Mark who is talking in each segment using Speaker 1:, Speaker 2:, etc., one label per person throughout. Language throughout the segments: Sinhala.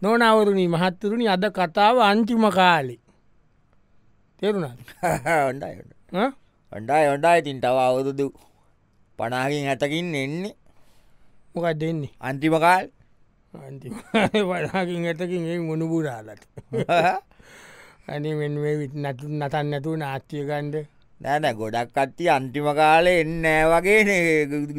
Speaker 1: නොනවරුණී මහත්තුරුණි අද කතාව අන්තිම කාලි තෙරුණද
Speaker 2: හොඩයි හොඩයි හොඩයි ඉතින් තව අවුරුදු පනාකින් ඇතකින් එන්නේ
Speaker 1: මොකක් දෙන්නේ
Speaker 2: අන්තිමකාල්
Speaker 1: වලාකින් ඇතකින් ඒ මොනුපුරාලට අනිෙන් මේ විත් නතු නතන් නැතුව නාත්්‍යයකන්ද
Speaker 2: නෑන ගොඩක් කත්ති අන්තිම කාලේ එන්නෑ වගේ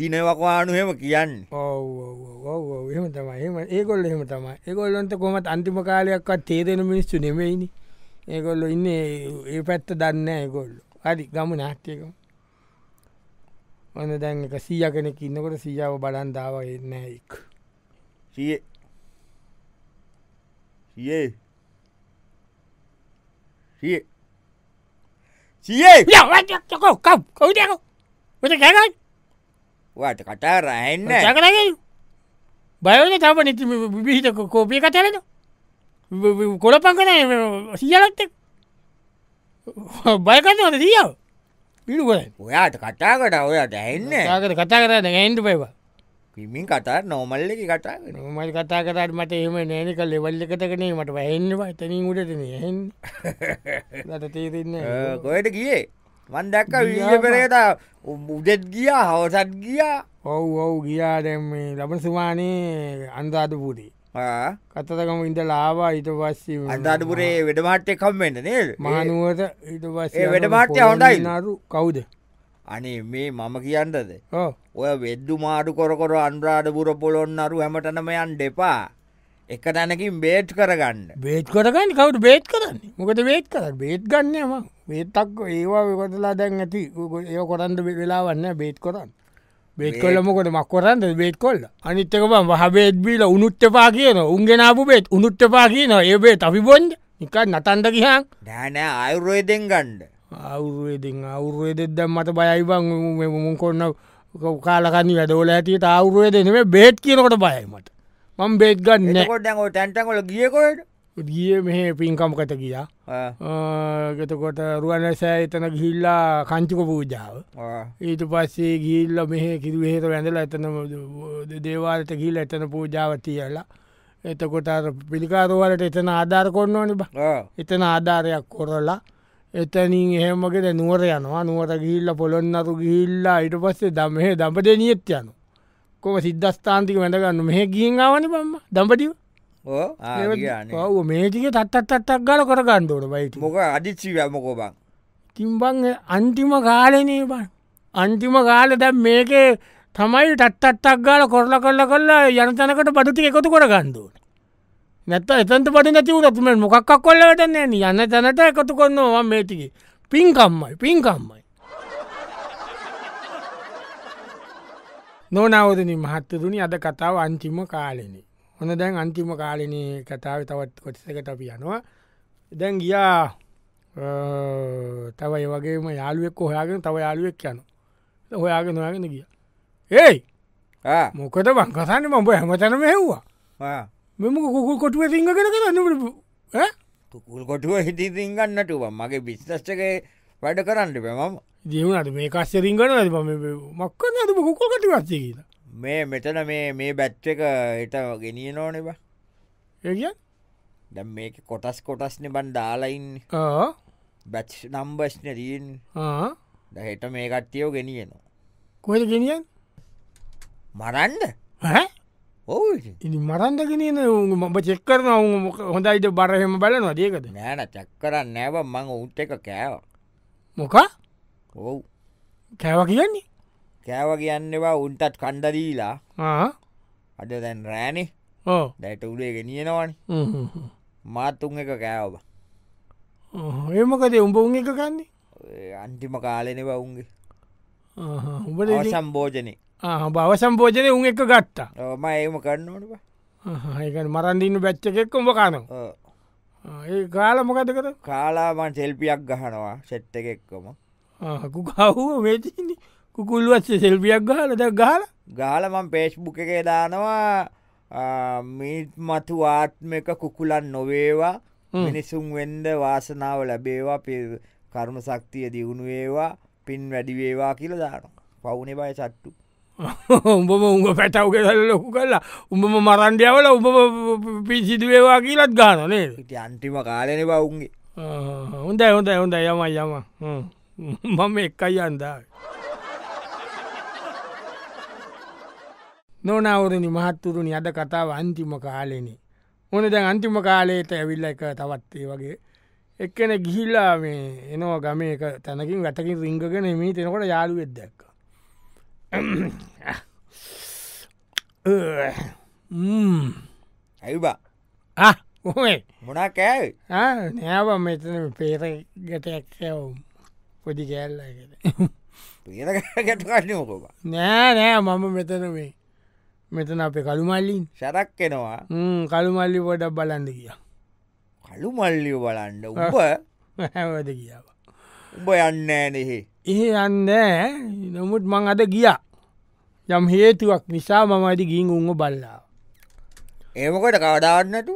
Speaker 2: දිනවකවානුහෙම කියන්න
Speaker 1: ඔහම තමයි එම ඒකොල් එහෙම තමයි ඒකොල්ලොන්ට කොමත් අන්තිම කාලයක්වත් තේරෙන මිනිස්සු නෙමෙයිනි ඒකොල්ලො ඉන්න ඒ පැත්ත දන්න ඒකොල්ලු අඩි ගම නාට්‍යයක ඔන්න දැන් එක සීය කෙනෙක් ඉන්නකොට සීයාව බලන්දාව එන්න එක්
Speaker 2: සිය සියේ සිය සියේ
Speaker 1: යකෝ කව් කවුදක ට කැනයි
Speaker 2: වට කටා රැහෙන්න
Speaker 1: ජකරග බයවද තම නති විිහිත කෝපිය කතරද කොළපංකන සියලත්ත බයකන්නවද දියාව පිළුවල
Speaker 2: ඔයාට කටාකට ඔයාට ඇන්න
Speaker 1: කට කතා කරන්න ඇන්ඩු පයිවා
Speaker 2: පිමින් කටා නොමල්ලකි කටාගෙන
Speaker 1: මට කතා කරට මට එහම නෑනක ලෙවල්ල එකතකනේ මට වැහෙන්නවා තනින් උටටන හෙන් ලට තේරන්න
Speaker 2: කොයට ගියේ මන් දැක්ක වීජ පෙරේත උදෙත් ගියා හවසත් ගියා
Speaker 1: ඔව් ඔව් ගියාදැම් ලබන සුමානයේ අන්දාාත පූටේ
Speaker 2: ආ,
Speaker 1: කතතකම ඉට ලාවා ඊට පස්සේ
Speaker 2: අන්දාටපුරේ වැඩ මාට්‍යය කම්මෙන්ට නේද
Speaker 1: මහනුවට ඊට පස්සේ
Speaker 2: ඒ වැඩ
Speaker 1: යනකොට
Speaker 2: පාට්ටය
Speaker 1: පොළොන්
Speaker 2: හොඳයි.
Speaker 1: දිනාරු කවුද
Speaker 2: අනේ මේ මම කියන්නද
Speaker 1: ඕ
Speaker 2: ඔය වෙද්දු මාඩු කොරකොර අන්රාධපුර පොලොන් අරු හැමටනම යන් දෙපා එක තැනකින් බේට් කරගන්න
Speaker 1: බේත් කොටගන්න කවුට බේත් කරන්නේ මොකද බේත් කර බේත් ගන්නයම බේතක් ඒවා වෙකොටලා දැන් ඇති ඒ කොරන්ද වෙලා වන්න බේත් කොරන්න බේත් කොල්ල මොකට මක් කොරන්ද බේත් කොල්ල අනිත්තකම වහබේත්්බීල උනුත්තපා කියන උන්ගෙනාපු බේත් උනුත්තපා කියන ඒ බේ අපි බොන්්ජ නිකත් නතන්ද කියහන්
Speaker 2: නෑනෑ අයුරෝයදෙන් ගණ්ඩ
Speaker 1: අවුරුවේදින් අවුරුවේදෙදම් මත බයයිබං මුන් කොන්න කාලකන්න වැඩෝල ඇතිට අවුරුවේ දෙනේ බේත් කියනකොට බයයිමට මං බේත් ගන්න
Speaker 2: එකොට ෝ තැන්ටකොල ගියකොට
Speaker 1: ගිය මෙහ පින්කම්කට ගියා ගතකොට රුවන සෑ එතන ගිල්ලා කංචික පූජාව ඊට පස්සේ ගිල්ල මෙහ කිරුවහෙත වැඳලා එතන දේවාලට ගිල් එතන පූජාව තියලා එතකොට අර පිළිකාරවලට එතන ආධාර කොන්න ඕනි බ එතන ආධාරයක් කොරලා එතනින් එහෙමකට නුවර යනවා නුවර ගිල්ල පොළොන්නරු ගිල්ලා ඊට පස්සේ දමහෙ දම්පට නියත් යනු කොම සිද්ධස්ථාන්තික වැඳගන්න මෙහ ගින් ආවනි බම්ම දම්පටිව ඔව මේටික තත්තත්තක් ගල කරගන්න ඕන බයිති
Speaker 2: මොක අධිච්චි වැමකෝ බං
Speaker 1: තිම්බං අන්තිම කාලනේ බන් අන්තිම කාල දැ මේකේ තමයි ටත්තත්තක් ගාල කොරල කොල්ල කොල්ලා යනතනකට පටති එකතු කරගන්දුවන නැත්ත එතන්ට පට නැතිවරතුම මොකක් කොල්ලටන යන තැනට එකතු කොන්නවා මේටික පින්කම්මයි පින්කම්මයි නොනවදන මහත්තතුනි අද කතාව අන්තිම කාලනේ හොන දැන් අන්තිම කාලනේ කතාව තවත් කොටසකට අපි යනවා දැන් ගියා අ, තව ඒ වගේම යාළුවෙක් හොයාගෙන තව යාළුවෙක් යන හොයාගෙන නොයාගෙන ගිය ඒයි මොකද වංකසන්න මඹ හැමතනම හෙව්වා මෙමක කුකුල් කොටුව සිංහ කර කරන්න
Speaker 2: තුකුල් කොටුව හිටිසිං ගන්නටුව මගේ බිස්්ටස්ටක වැඩ කරන්නට පැමම
Speaker 1: ජීවනට මේ කස්්‍ය රිංගන මක්කන්න අද කුකුල් කටි වස්සේ කියලා
Speaker 2: මේ මෙතන මේ මේ බැට් එක එට ගෙනිය නෝනෙබ
Speaker 1: ඒගිය
Speaker 2: දැ මේක කොටස් කොටස්න බන් දාලයින්න බැච් නම්බස්න රීන් දහෙට මේ කට්ටියෝ ගෙනියනවා
Speaker 1: කොහද ගෙනියන්
Speaker 2: මරන්ද ඔව
Speaker 1: ඉනි මරන්ද ගෙනන මම චෙක් කරන හොඳයිට බරහෙම බලනවා දේකද
Speaker 2: නෑන චැක් කරන්න නෑව මං උත් එක කෑව
Speaker 1: මොක
Speaker 2: ඔව්
Speaker 1: කෑව කියන්නේ
Speaker 2: කෑව කියන්නවා උන්ටත් කණ්ඩදීලා
Speaker 1: ආ.
Speaker 2: අද දැන් රෑනෙ
Speaker 1: ඕ
Speaker 2: දැට උඩේ ගෙනියනවන
Speaker 1: හ්ම් හ්ම් හ්ම්.
Speaker 2: මාතුන් එක කෑව
Speaker 1: ඒමකද උඹ උන් එක කන්නේ
Speaker 2: අන්තිම කාලෙනෙව උන්ගේ
Speaker 1: උඹට
Speaker 2: සම්බෝජනය
Speaker 1: බව සම්පෝජනය උන් එක ගත්තා
Speaker 2: ම ඒම කරන්න ඕනවා
Speaker 1: ඒක මරන්දින්න බැච්චකෙක් උඹ කනවා ඒ කාල මොකද කර
Speaker 2: කාලාමන් සෙල්පියක් ගහනවා සෙට්ට එකෙක්කම
Speaker 1: කහුව මේතින කුකුල්ුවත්ේ සෙල්පියක් ගහලද ගාල
Speaker 2: ගාලමන් පේස්්බුක එකේ දානවා ආ, මිනිත් මතු ආත්මක කුකුලන් නොවේවා මිනිසුන් වෙන්ඩ වාසනාව ලැබේවා පි- කර්ම සක්තිය දියුණුවේවා පින් වැඩිවේවා කියල දාන පවුනේ බය සට්ටු
Speaker 1: උඹම උඹ පැටව් කෙදල ලොකු කල්ලා උඹම මරන්ඩියවල උඹ පිසිදුවේවා කියලත් ගාන නේද
Speaker 2: ඉති අන්තිම කාලන බවුන්ගේ
Speaker 1: හොඳ හොඳ හොඳ යම යම මම එක්කයි අන්දායි. නොනවරනි මහත්තුරුණි අද කතාව අන්තිම කාලෙනෙ. ඕන දැන් අන්තිම කාලයට ඇවිල්ල එක තවත්තේ වගේ. එක්කන ගිහිල්ලා මේ එනවා ගමේ එක තැනකින් වැතකින් රිංගගෙන මී තෙනකොට යාළුවෙත් දැක්ක. Ah. Uh. Hmm.
Speaker 2: ඇයිබා
Speaker 1: Ah, ඔහේ
Speaker 2: මොනා කෑයි
Speaker 1: නෑව මෙතන පේර ගටයක් ඇවුම් පොඩි කෑල්ලගෙන
Speaker 2: පීරගැටකන්න ඕකබ
Speaker 1: නෑ නෑ මම මෙතන මේ මෙතන අපේ කළුමල්ලින්
Speaker 2: සැරක් කෙනවා
Speaker 1: ම්, කළුමල්ලි පොඩක් බලන්ද කියා
Speaker 2: කලු මල්ලිය බලන්න උඹ
Speaker 1: හැවද කියාව.
Speaker 2: උඹ යන්න නෙහි
Speaker 1: එහෙ යන්න නොමුත් මං අද ගියා යම් හේතුවක් නිසා මම අඩි ගින් උන්ව බල්ලා
Speaker 2: ඒමකොට කවදාන්නතු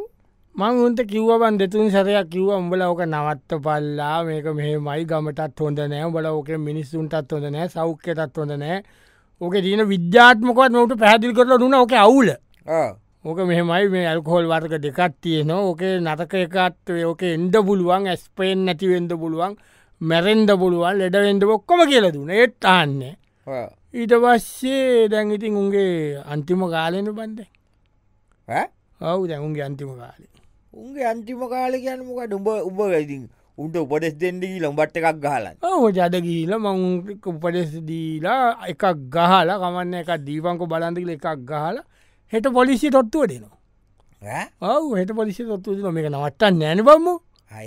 Speaker 1: මං උන්ට කිව්වන් දෙතුන් සරයක් කිව්ව උඹල ඕක නවත්ත පල්ලා මේක මෙහෙමයි ගමටත් හොඳ නෑ බල ඕක මිනිස්සුන්ටත් හොඳ නෑ සෞඛ්‍යතත් හොඳ නෑ ඕක දීන විද්‍යාත්මකොත් නොට පැදිල් කරලා දුන ඕක අවුල ඕක මෙහමයි මේ ඇල්කෝල් වර්ග දෙකත් තියෙන ඕකේ නතක එකත් ඕක එන්ඩ පුළුවන් ඇස්පෙන් නැතිවෙන්ඩ පුළුවන් මැරෙන්ඩ පුළුවන් ලෙඩවෙන්ඩ ඔක්කොම කියල දුන ඒත් අන්නේ ඊට පස්සේ දැන් ඉතින් උන්ගේ අන්තිම කාලෙන බන්ද ඔවු දැන්උන්ගේ අන්තිම කාලේ
Speaker 2: උන්ගේ අන්තිම කාලකයන්න මොක උඹ උඹ ඉතින් උන්ට උපදෙස් දෙෙන්ඩී ලොම්බට් එකක් ගහලන්න
Speaker 1: ඔහු ජද ගීල මංක උපදෙස් දීලා එකක් ගහල කමන්න එක දීපංක බලන්දිල එකක් ගහල හෙට පොලිසි තොත්තුව දෙනවා ඔව හෙට පොලිසි තොත්තුව දෙන මේක නවත්තන්න නෑන බම්ම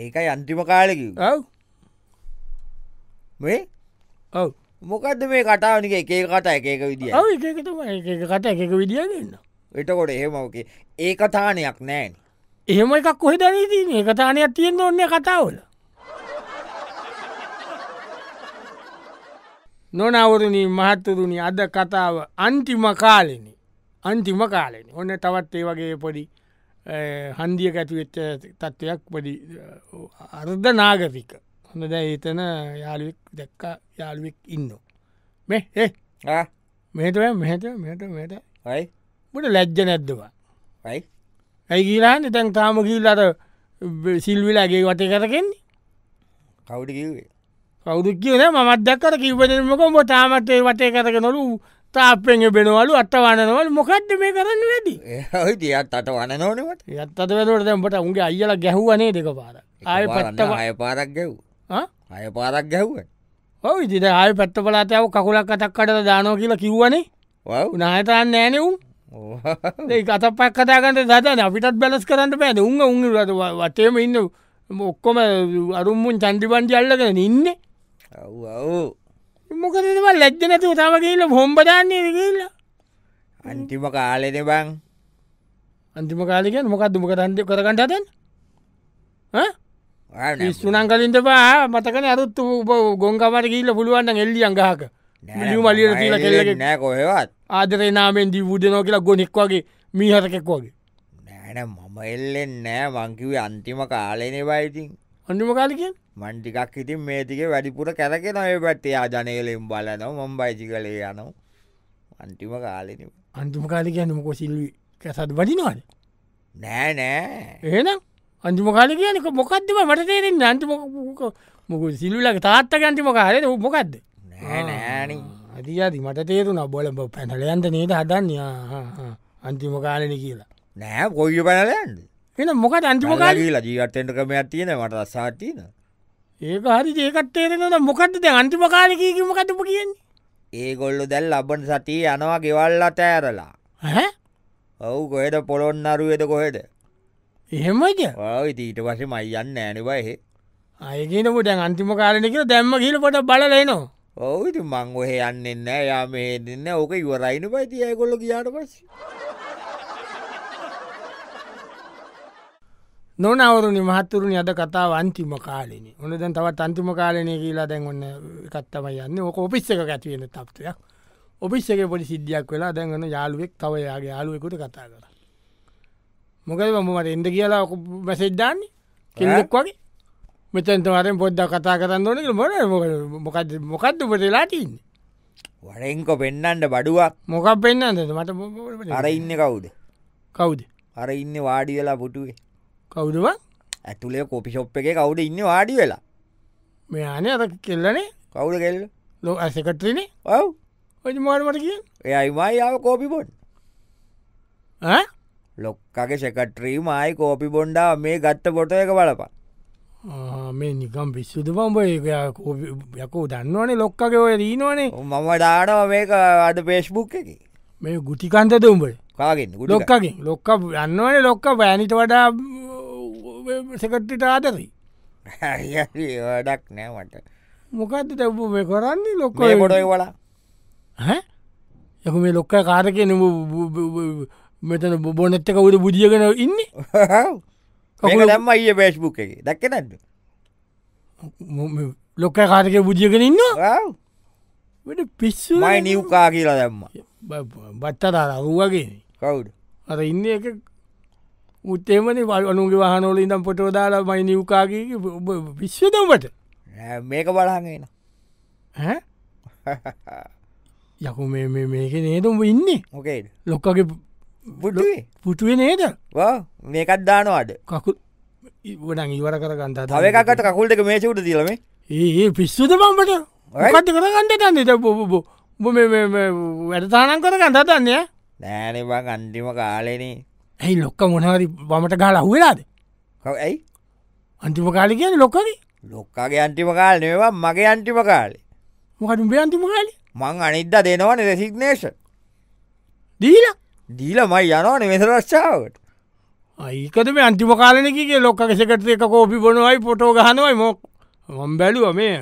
Speaker 2: ඒකයි අන්තිම කාලෙක
Speaker 1: ඔව
Speaker 2: මේ
Speaker 1: ඔව
Speaker 2: මොකක්ද මේ කටාවනික එකේ කතා එකක විදිිය
Speaker 1: ඔව එකකතුම එක කට එකක විදිිය දෙන්න
Speaker 2: එතකොට එහෙමෝකේ ඒ කතානයක් නෑන
Speaker 1: එහෙම එකක් කොහෙ දැනීතින් එකතානයක් තියෙන ඔන්න කතාවල නොනවරණී මහත්තුරුණි අද කතාව අන්තිම කාලෙනි අන්තිම කාලෙනි ඔන්න තවත් ඒ වගේ පොඩි හන්දිය ඇතිවෙච්ච තත්ත්වයක් පොඩි අ, අර්ධ නාගතික හොඳ දැ ඒතන යාළුවෙක් දැක්ක යාළුවෙක් ඉන්න මෙ ඒ මෙට මෙහට මෙට මෙට
Speaker 2: යි
Speaker 1: බට ලැජ්ජ නැද්දවා
Speaker 2: යි
Speaker 1: ඇයි කියලාන්න තැන් තාම කියීලට සිල්විලාගේ වටේ කරකෙන්නේ
Speaker 2: කවුඩ කිවේ
Speaker 1: කවුදු කියන මත් දක්කර කිවදමකොම තාමත්තේ වටේ කරක නොලු තාපෙන් බෙනවලු අත්තවනවල මොකක්ද මේ කරන්න වැඩි
Speaker 2: ඒයි දියත් අට වන නොනවට
Speaker 1: යත්තත වැලට දැම්ට උන්ගේ අයිල ගැහුවනේ දෙක පාර ආය පත්ත
Speaker 2: අය පාරක් ගැව් අය පාරක් ගැව්ව
Speaker 1: ඔව ඉතිට ආය පැත්ත පලාතාව කකුලක් කතක් කට දානෝ කියලා කිව්වනේ
Speaker 2: වව්
Speaker 1: නායතන්න ෑනෙවුම් ඒ කතපක් කතාගට දතන අපිටත් බැලස් කරන්න පෑද උන් උන්ගලට වටේම ඉන්න ඔක්කොම අරුම්මුන් චන්ඩිපන්චි අල්ලගෙන ඉන්නේ
Speaker 2: ඔව්
Speaker 1: මොකදම ලැජ්ජ නැතිව තම කියල හොම්බදාන්නේ කියලා
Speaker 2: අන්තිම කාලෙන බං
Speaker 1: අන්තිම කාලිකෙන් මොකක්ද මොක තන්ද කරගන්නට ඇතන් ස්තුනන් කලින්ට පා මතකන අරුත් උබ ගොංකමට කියීල පුළුවන්න එල්ලිය අංගහක මිලියු මලියට තියලා කෙල්ලෙක්.
Speaker 2: නෑ කොහෙවත්
Speaker 1: ආදරේ නාමෙන් දීවූදනෝ කියලා ගොනෙක් වගේ මීහරකෙක් වගේ
Speaker 2: නෑන මම එල්ලෙන් නෑ මංකිවේ අන්තිම කාලෙනෙ බයිතින්
Speaker 1: අන්තිම කාලිකෙන්
Speaker 2: මන්ටිකක් ඉතින් මේතික වැඩිපුර කැරක නොය පැත්තේ ජනයලෙම් බලනව මම් බයිසි කලේ යනු අන්තිම කාලෙන
Speaker 1: අන්තිම කාලිකයන්න මොක සිල්ලි කැසත් වඩිනවාද
Speaker 2: නෑ නෑ
Speaker 1: එහෙනම් අන්තිම කාලිකයනක මොකක්දම මට තේරෙන් අන්තිමක මොක සිල්ලක තාත්තක අන්තිම කාලෙද මොකක්ද
Speaker 2: නෑ නෑන
Speaker 1: අදයාදි මට තේරුන බොල පැනලයන්ට නේද හදන්න අන්තිම කාලෙන කියලා
Speaker 2: නෑ කොයි පැනලන්ද
Speaker 1: එන මොකත් අන්තිම කාල
Speaker 2: මොකාලීලා ජීවත්තෙන්ට කමයක් තියෙන මට අසාතින
Speaker 1: ඒක හරි ඒකත්තේරෙන මොකක්ද අන්තිම කාලකීම කටපු කියන්නේ
Speaker 2: ඒගොල්ලු දැල් ලබන සතිය යනවා ගෙවල්ලා තෑරලා
Speaker 1: හැ
Speaker 2: ඔවු කොහෙට පොළොන් අරුවද කොහෙට
Speaker 1: එහෙමද
Speaker 2: ඔව ඉතීට පසේ මයියන්න ඇනවා එහෙ
Speaker 1: අයගෙනපු දැන් අන්තිම කාලනකර දැම්ම කියල පොට බලලනවා
Speaker 2: ඔවු ඉති මං ඔහෙ යන්නෙන්න යා මේ දෙන්න ඕක ඉවරයින පයිති ඇකොල්ල කියාට පස්සේ
Speaker 1: නොනවරුණ මහත්තුරුණ අද කතාව අන්තිම කාලෙන ඔන්න දැන් තවත් අන්තිම කාලනය කියලා දැන් ඔන්න කත්තම යන්න ඕක ඔපිස්ස එක ඇතිවෙන තත්ත්වයක් ඔපිස්ස එක පොඩි සිද්ධියක් වෙලා දැන්ගන යාළුවෙක් තවයාගේ යාලුවෙකුට කතා කර මොකද මමට එන්ද කියලා මැසෙද්දාන්නේ කෙල්ලෙක් වගේ මෙතන්තවරෙන් පොද්ද කතා කරන්න ඕනක මොන මොකද මොකක්ද පටලාටන්න
Speaker 2: වඩෙන්කො පෙන්නන්ට බඩුවක්
Speaker 1: මොකක් පෙන්න්නද මට බ-
Speaker 2: අර ඉන්න කවුද
Speaker 1: කවුද
Speaker 2: අර ඉන්න වාඩි වෙලා පුටුවේ
Speaker 1: කවුදව
Speaker 2: ඇතුලේ කොපිෂොප් එක කවුඩ ඉන්න වාඩි වෙලා
Speaker 1: මෙයානේ අර කෙල්ලනේ
Speaker 2: කවුද කෙල්ල
Speaker 1: ලෝ ඇසකටනේ
Speaker 2: ඔව්
Speaker 1: ඔයි මාරමට කිය
Speaker 2: එයයිමයි යාව කෝපිබොන් ලොක්කගේ සෙකට්‍රී මයි කෝපි බොන්්ඩා මේ ගත්ත පොට එක බලපා
Speaker 1: මේ නිකම් පිස්සුද පම්බ යකෝ දන්නවනේ ලොක්කගේ ඔය දීනවනේ
Speaker 2: මම ඩානව මේක අඩ පේස්්බුක් එක
Speaker 1: මේ ගුටිකන්තද උඹේ
Speaker 2: කාගෙන් ගුඩොක්ක
Speaker 1: ලොක්කකින් ලොක්ක යන්නවනේ ලොක්ක පෑනිට වඩා සෙකට්ටිට ආදරී
Speaker 2: වැඩක් නෑමට
Speaker 1: මොකක්ද දැබ්බ මේ කරන්නේ ලොක්ක
Speaker 2: කොය පොටයි වලා
Speaker 1: යකු මේ ලොක්ක කාරකය නම මෙතන බොනැත්තක උද බුදියගෙන ඉන්න
Speaker 2: ඒක
Speaker 1: කකුල-
Speaker 2: දම්ම ඒ පේස්්බුක් එක දක්ක නැද
Speaker 1: ලොක්ක කාරකය බුදියගෙන ඉන්න වැඩ පිස්සු
Speaker 2: මයි නිව්කා කියලා දැම්ම
Speaker 1: බත්තතාර රුවගේ
Speaker 2: කවුඩ්
Speaker 1: අර ඉන්න එක උත්තේමන වල් අනුගේ වහනෝල ඉඳම් පොටෝදාලා මයි නිවකාගේ විශ්වදමට
Speaker 2: මේක බලහගෙන
Speaker 1: යකු මේ- මේ- මේක නේතුම් ඉන්නේ
Speaker 2: මොකේද
Speaker 1: ලොක්කගේ
Speaker 2: බුඩුවේ
Speaker 1: පුටුවේ නේද
Speaker 2: මේකත් දානවාට
Speaker 1: කකු ඉවඩන් ඉවර කරගන්ත
Speaker 2: තව එකකට කකුල් දෙක මේසකුට දීලමේ
Speaker 1: ඒ පිස්සුද පම්බට කට කරගන්න තන්න බොබෝ වැඩතානම් කරගන්න තන්නේ
Speaker 2: නෑනබං අන්තිම කාලනේ
Speaker 1: ඇයි ලොක්ක මොනහරි බමට කාලා හුවෙලාද
Speaker 2: කව ඇයි
Speaker 1: අන්තිම කාලි කියන ලොක්කද
Speaker 2: ලොක්කාගේ අන්ටිම කාල නවා මගේ අන්ටිම කාලේ
Speaker 1: මොකට උඹේ අන්තිම කාලි
Speaker 2: මං අනිද්ද දෙනවන රෙසිගනේෂ
Speaker 1: දීලා
Speaker 2: දීල මයි යනවා නිවෙස රශ්චාවට
Speaker 1: ඒකද මේ අන්තිම කාලනකගේ ලොක්ක කෙසකට එක කෝපි බොනවයි පොටෝ ගහනවයි මොක් මම් බැලුව මේ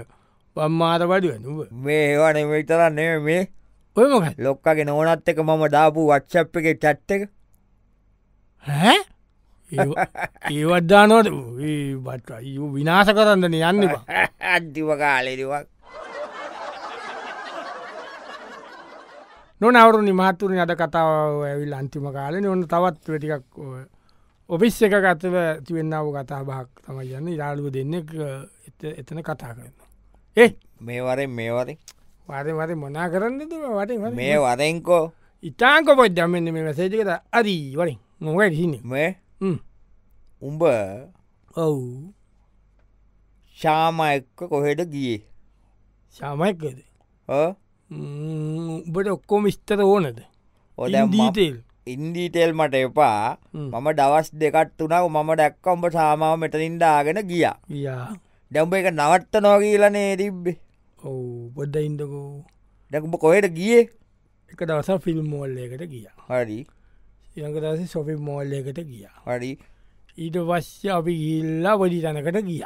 Speaker 1: පම්මාත පඩුව නුව
Speaker 2: මේ ඒවා නෙමයිතරන්නේ මේ
Speaker 1: ඔය මොකයි
Speaker 2: ලොක්කගේ නෝනත් එක මම දාපු වච්චප් එක චට් එක
Speaker 1: හැ ඒවත්දානොට බට අයෝ විනාස කරන්නන යන්නවා
Speaker 2: අන්තිම කාලෙරිවක්
Speaker 1: නොනවරු නිමාතුරින් අද කතාව ඇවිල් අන්තිම කාලන ඔන්න තවත් වැටිකක් ඔපිස් එක ගතව තිවෙන්නාව කතා බහක් තමයි යන්න ඉරාලුව දෙන්න එතන කතා කරන්න ඒ
Speaker 2: මේවරෙන් මේවරින්
Speaker 1: වරවර මොනා කරන්නද වට
Speaker 2: මේ වරෙන්කෝ
Speaker 1: ඉතාංක පොත් දමන්න මේ වැසේජකට අදී වරින් නොවැ හින
Speaker 2: මේ
Speaker 1: Hmm.
Speaker 2: උඹ
Speaker 1: ඔව්
Speaker 2: ශාමයක්ක කොහෙට ගියේ
Speaker 1: ශාමයක්කද
Speaker 2: ඕ?
Speaker 1: උබට ඔක්කොම ස්තර ඕනද
Speaker 2: ඔ දැන් මම-
Speaker 1: ඉන්දීතේල්.
Speaker 2: ඉන්දීටෙල් මට එපා
Speaker 1: හ්ම්.
Speaker 2: මම දවස් දෙකත් වනක් මම දැක්ක උඹ සාමාව මෙටනින් දාගෙන ගිය
Speaker 1: යා
Speaker 2: දැම්ඹ එක නවත්ත නොගීලනේ තිබ්බේ
Speaker 1: ඔව් බොද්ධ ඉන්දකෝ
Speaker 2: දැකුඹ කොහෙට ගියේ
Speaker 1: එක දවස ෆිල්ම් මෝල්ලයකට ගිය
Speaker 2: හරි
Speaker 1: ඉඟ දස සොපි මෝල්ලයකට ගිය
Speaker 2: හරි
Speaker 1: ඊට පස්්‍ය අපි ගිල්ලා වඩි තැනකට ගිය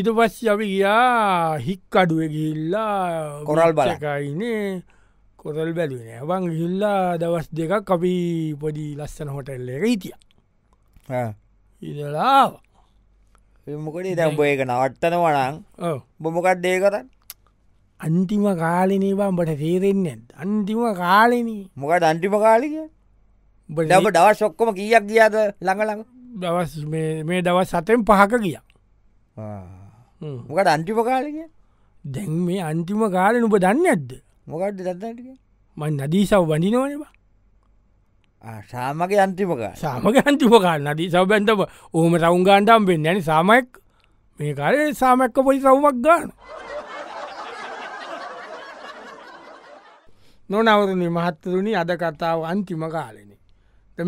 Speaker 1: ඊට පස්්‍ය අපි ගියා හික් අඩුව ගිල්ලා
Speaker 2: කොරල් බලන්න.
Speaker 1: එකයිනේ කොරල් බැලුවන බං ගිල්ලා දවස් දෙකක් අපි පොඩි ලස්සන හොටල්ල එක හිටිය ඉදලා
Speaker 2: මොකටේ දැම්ඹ එක නවත්තනවනං බොමොකක් දේ කරන්න
Speaker 1: අන්තිම කාලනේ බම්බට තේරෙන්නේ නැද්ද? අන්තිම කාලනී
Speaker 2: මොකට අන්ටිම කාලික දැම දවස් ඔක්කොම කියක් ගියාද ළඟලඟ
Speaker 1: දවස් මේ- මේ දවස් සතෙන් පහක ගිය
Speaker 2: මොකට අන්ටිම කාලික
Speaker 1: දැන් මේ අන්තිම කාලන උප දන්න ඇද්ද
Speaker 2: මොකක්ද දත්තටික
Speaker 1: මන් නදීසව් වඩිනවනවා
Speaker 2: සාමගේ අන්තිම කාල
Speaker 1: සාමක අන්තිපකාන්න අදී සවබැන්තම ඕම රවුන්ගාන්ටම් වෙන්න ඇනි සාමයක් මේ කාලය සාමැක්ක පොයි සවමක් ගාන නොනවරණ මහත්තරුණි අද කතාව අන්තිම කාලනෙ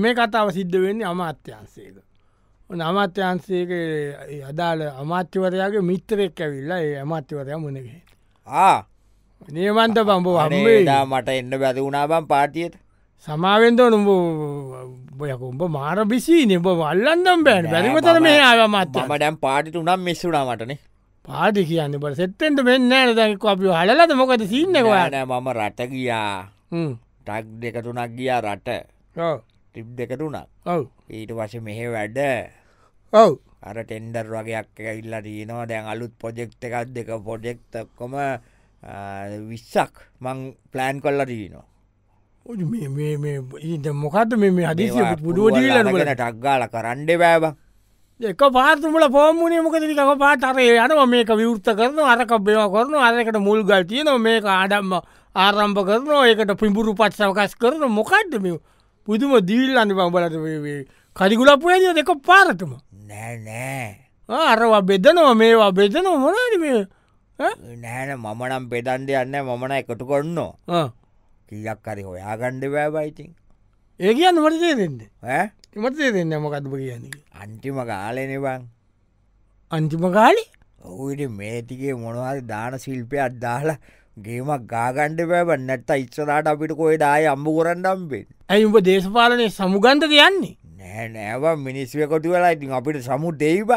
Speaker 1: මේ කතාව සිද්ධ වෙන්නේ අමාත්‍යන්සේක අමාත්‍යන්සේක අදාළ අමාත්‍යවරයාගේ මිත්‍රෙක් ඇවිල්ලා ඒ අමාත්‍යවරයා මුණගහ නියමන්ත පම්බ වම්ේ
Speaker 2: ඩා මට එන්න බැති වුණාබම් පාටියට
Speaker 1: සමාවෙන්ද නුඹ බොයකුම්ඹ මාර බිසි නිබ වල්ලන්දම් බෑන් බැරිම තර මේ ආයමත්ත
Speaker 2: මම ඩැම් පාටිට උනම් මිස්සුනාමටනේ
Speaker 1: පාටි කියන්න බට සෙත්තෙන්ට මෙන්න දැක අපි හලද මොකද සින්නකවා
Speaker 2: නෑ මම රට ගියා ටක් දෙකතුනක් ගියා රට ටිප් දෙකතුනක්
Speaker 1: ඔව්
Speaker 2: ඊට වශ මෙහෙ වැඩ
Speaker 1: ඔව්
Speaker 2: අර ටෙන්ඩර් වගේයක් ඉල්ලා දීනවා දැන් අලුත් පොජෙක්් එකක් දෙක පොජෙක්්කොම විස්සක් මං ප්ලෑන් කොල්ලා දීනවා
Speaker 1: ඔය මේ- මේ- මේ ඉද මොකක්ද මේ මේ හදිසිය පුඩුවදීලන
Speaker 2: ටක්ගාල කරන්ඩ බෑබ
Speaker 1: එක පාතුමල පෝමුණේ මොකදක පාතරය යනම මේක විවෘත කරන අරක බේවා කරන අරකට මුල් ගල් තියන මේ ආඩම්ම ආරම්භ කරන ඒකට පිඹුරු පත් සවකස් කරන මොකක්දම පුදුම දීල්ලන්න පම්බලට කරිගුලපුයද දෙක පාරටම
Speaker 2: නෑ නෑ
Speaker 1: අරවා බෙදනවා මේවා බෙදනවා මොනාදම
Speaker 2: නෑන මමනම් බෙදන්ඩ යන්න මමන එකතු කොන්නවා කියක් කරි හොයා ගණ්ඩ බෑබයිතින්
Speaker 1: ඒ කියන්න මටසේ දෙෙන්ද
Speaker 2: ඇ?
Speaker 1: මතේ දෙන්න මොකත්ම කියන්නේ
Speaker 2: අන්තිම ගාලනවන්
Speaker 1: අන්තිම කාලි
Speaker 2: ඔහුට මේතිකේ මොනවාද දාන ශිල්පය අත්දාලා ගේමක් ගාගණ්ඩ පැබන් නැත්ත ඉස්සරට අපිට කොයි දාය අම්ඹ කොරන්ඩම්බෙන්
Speaker 1: ඇයි උඹ දේශපාලනය සමුගන්ධ යන්නේ
Speaker 2: නෑ නෑව මිනිස්වකොටු වෙලා ඉතින් අපිට සමු දෙයිබක්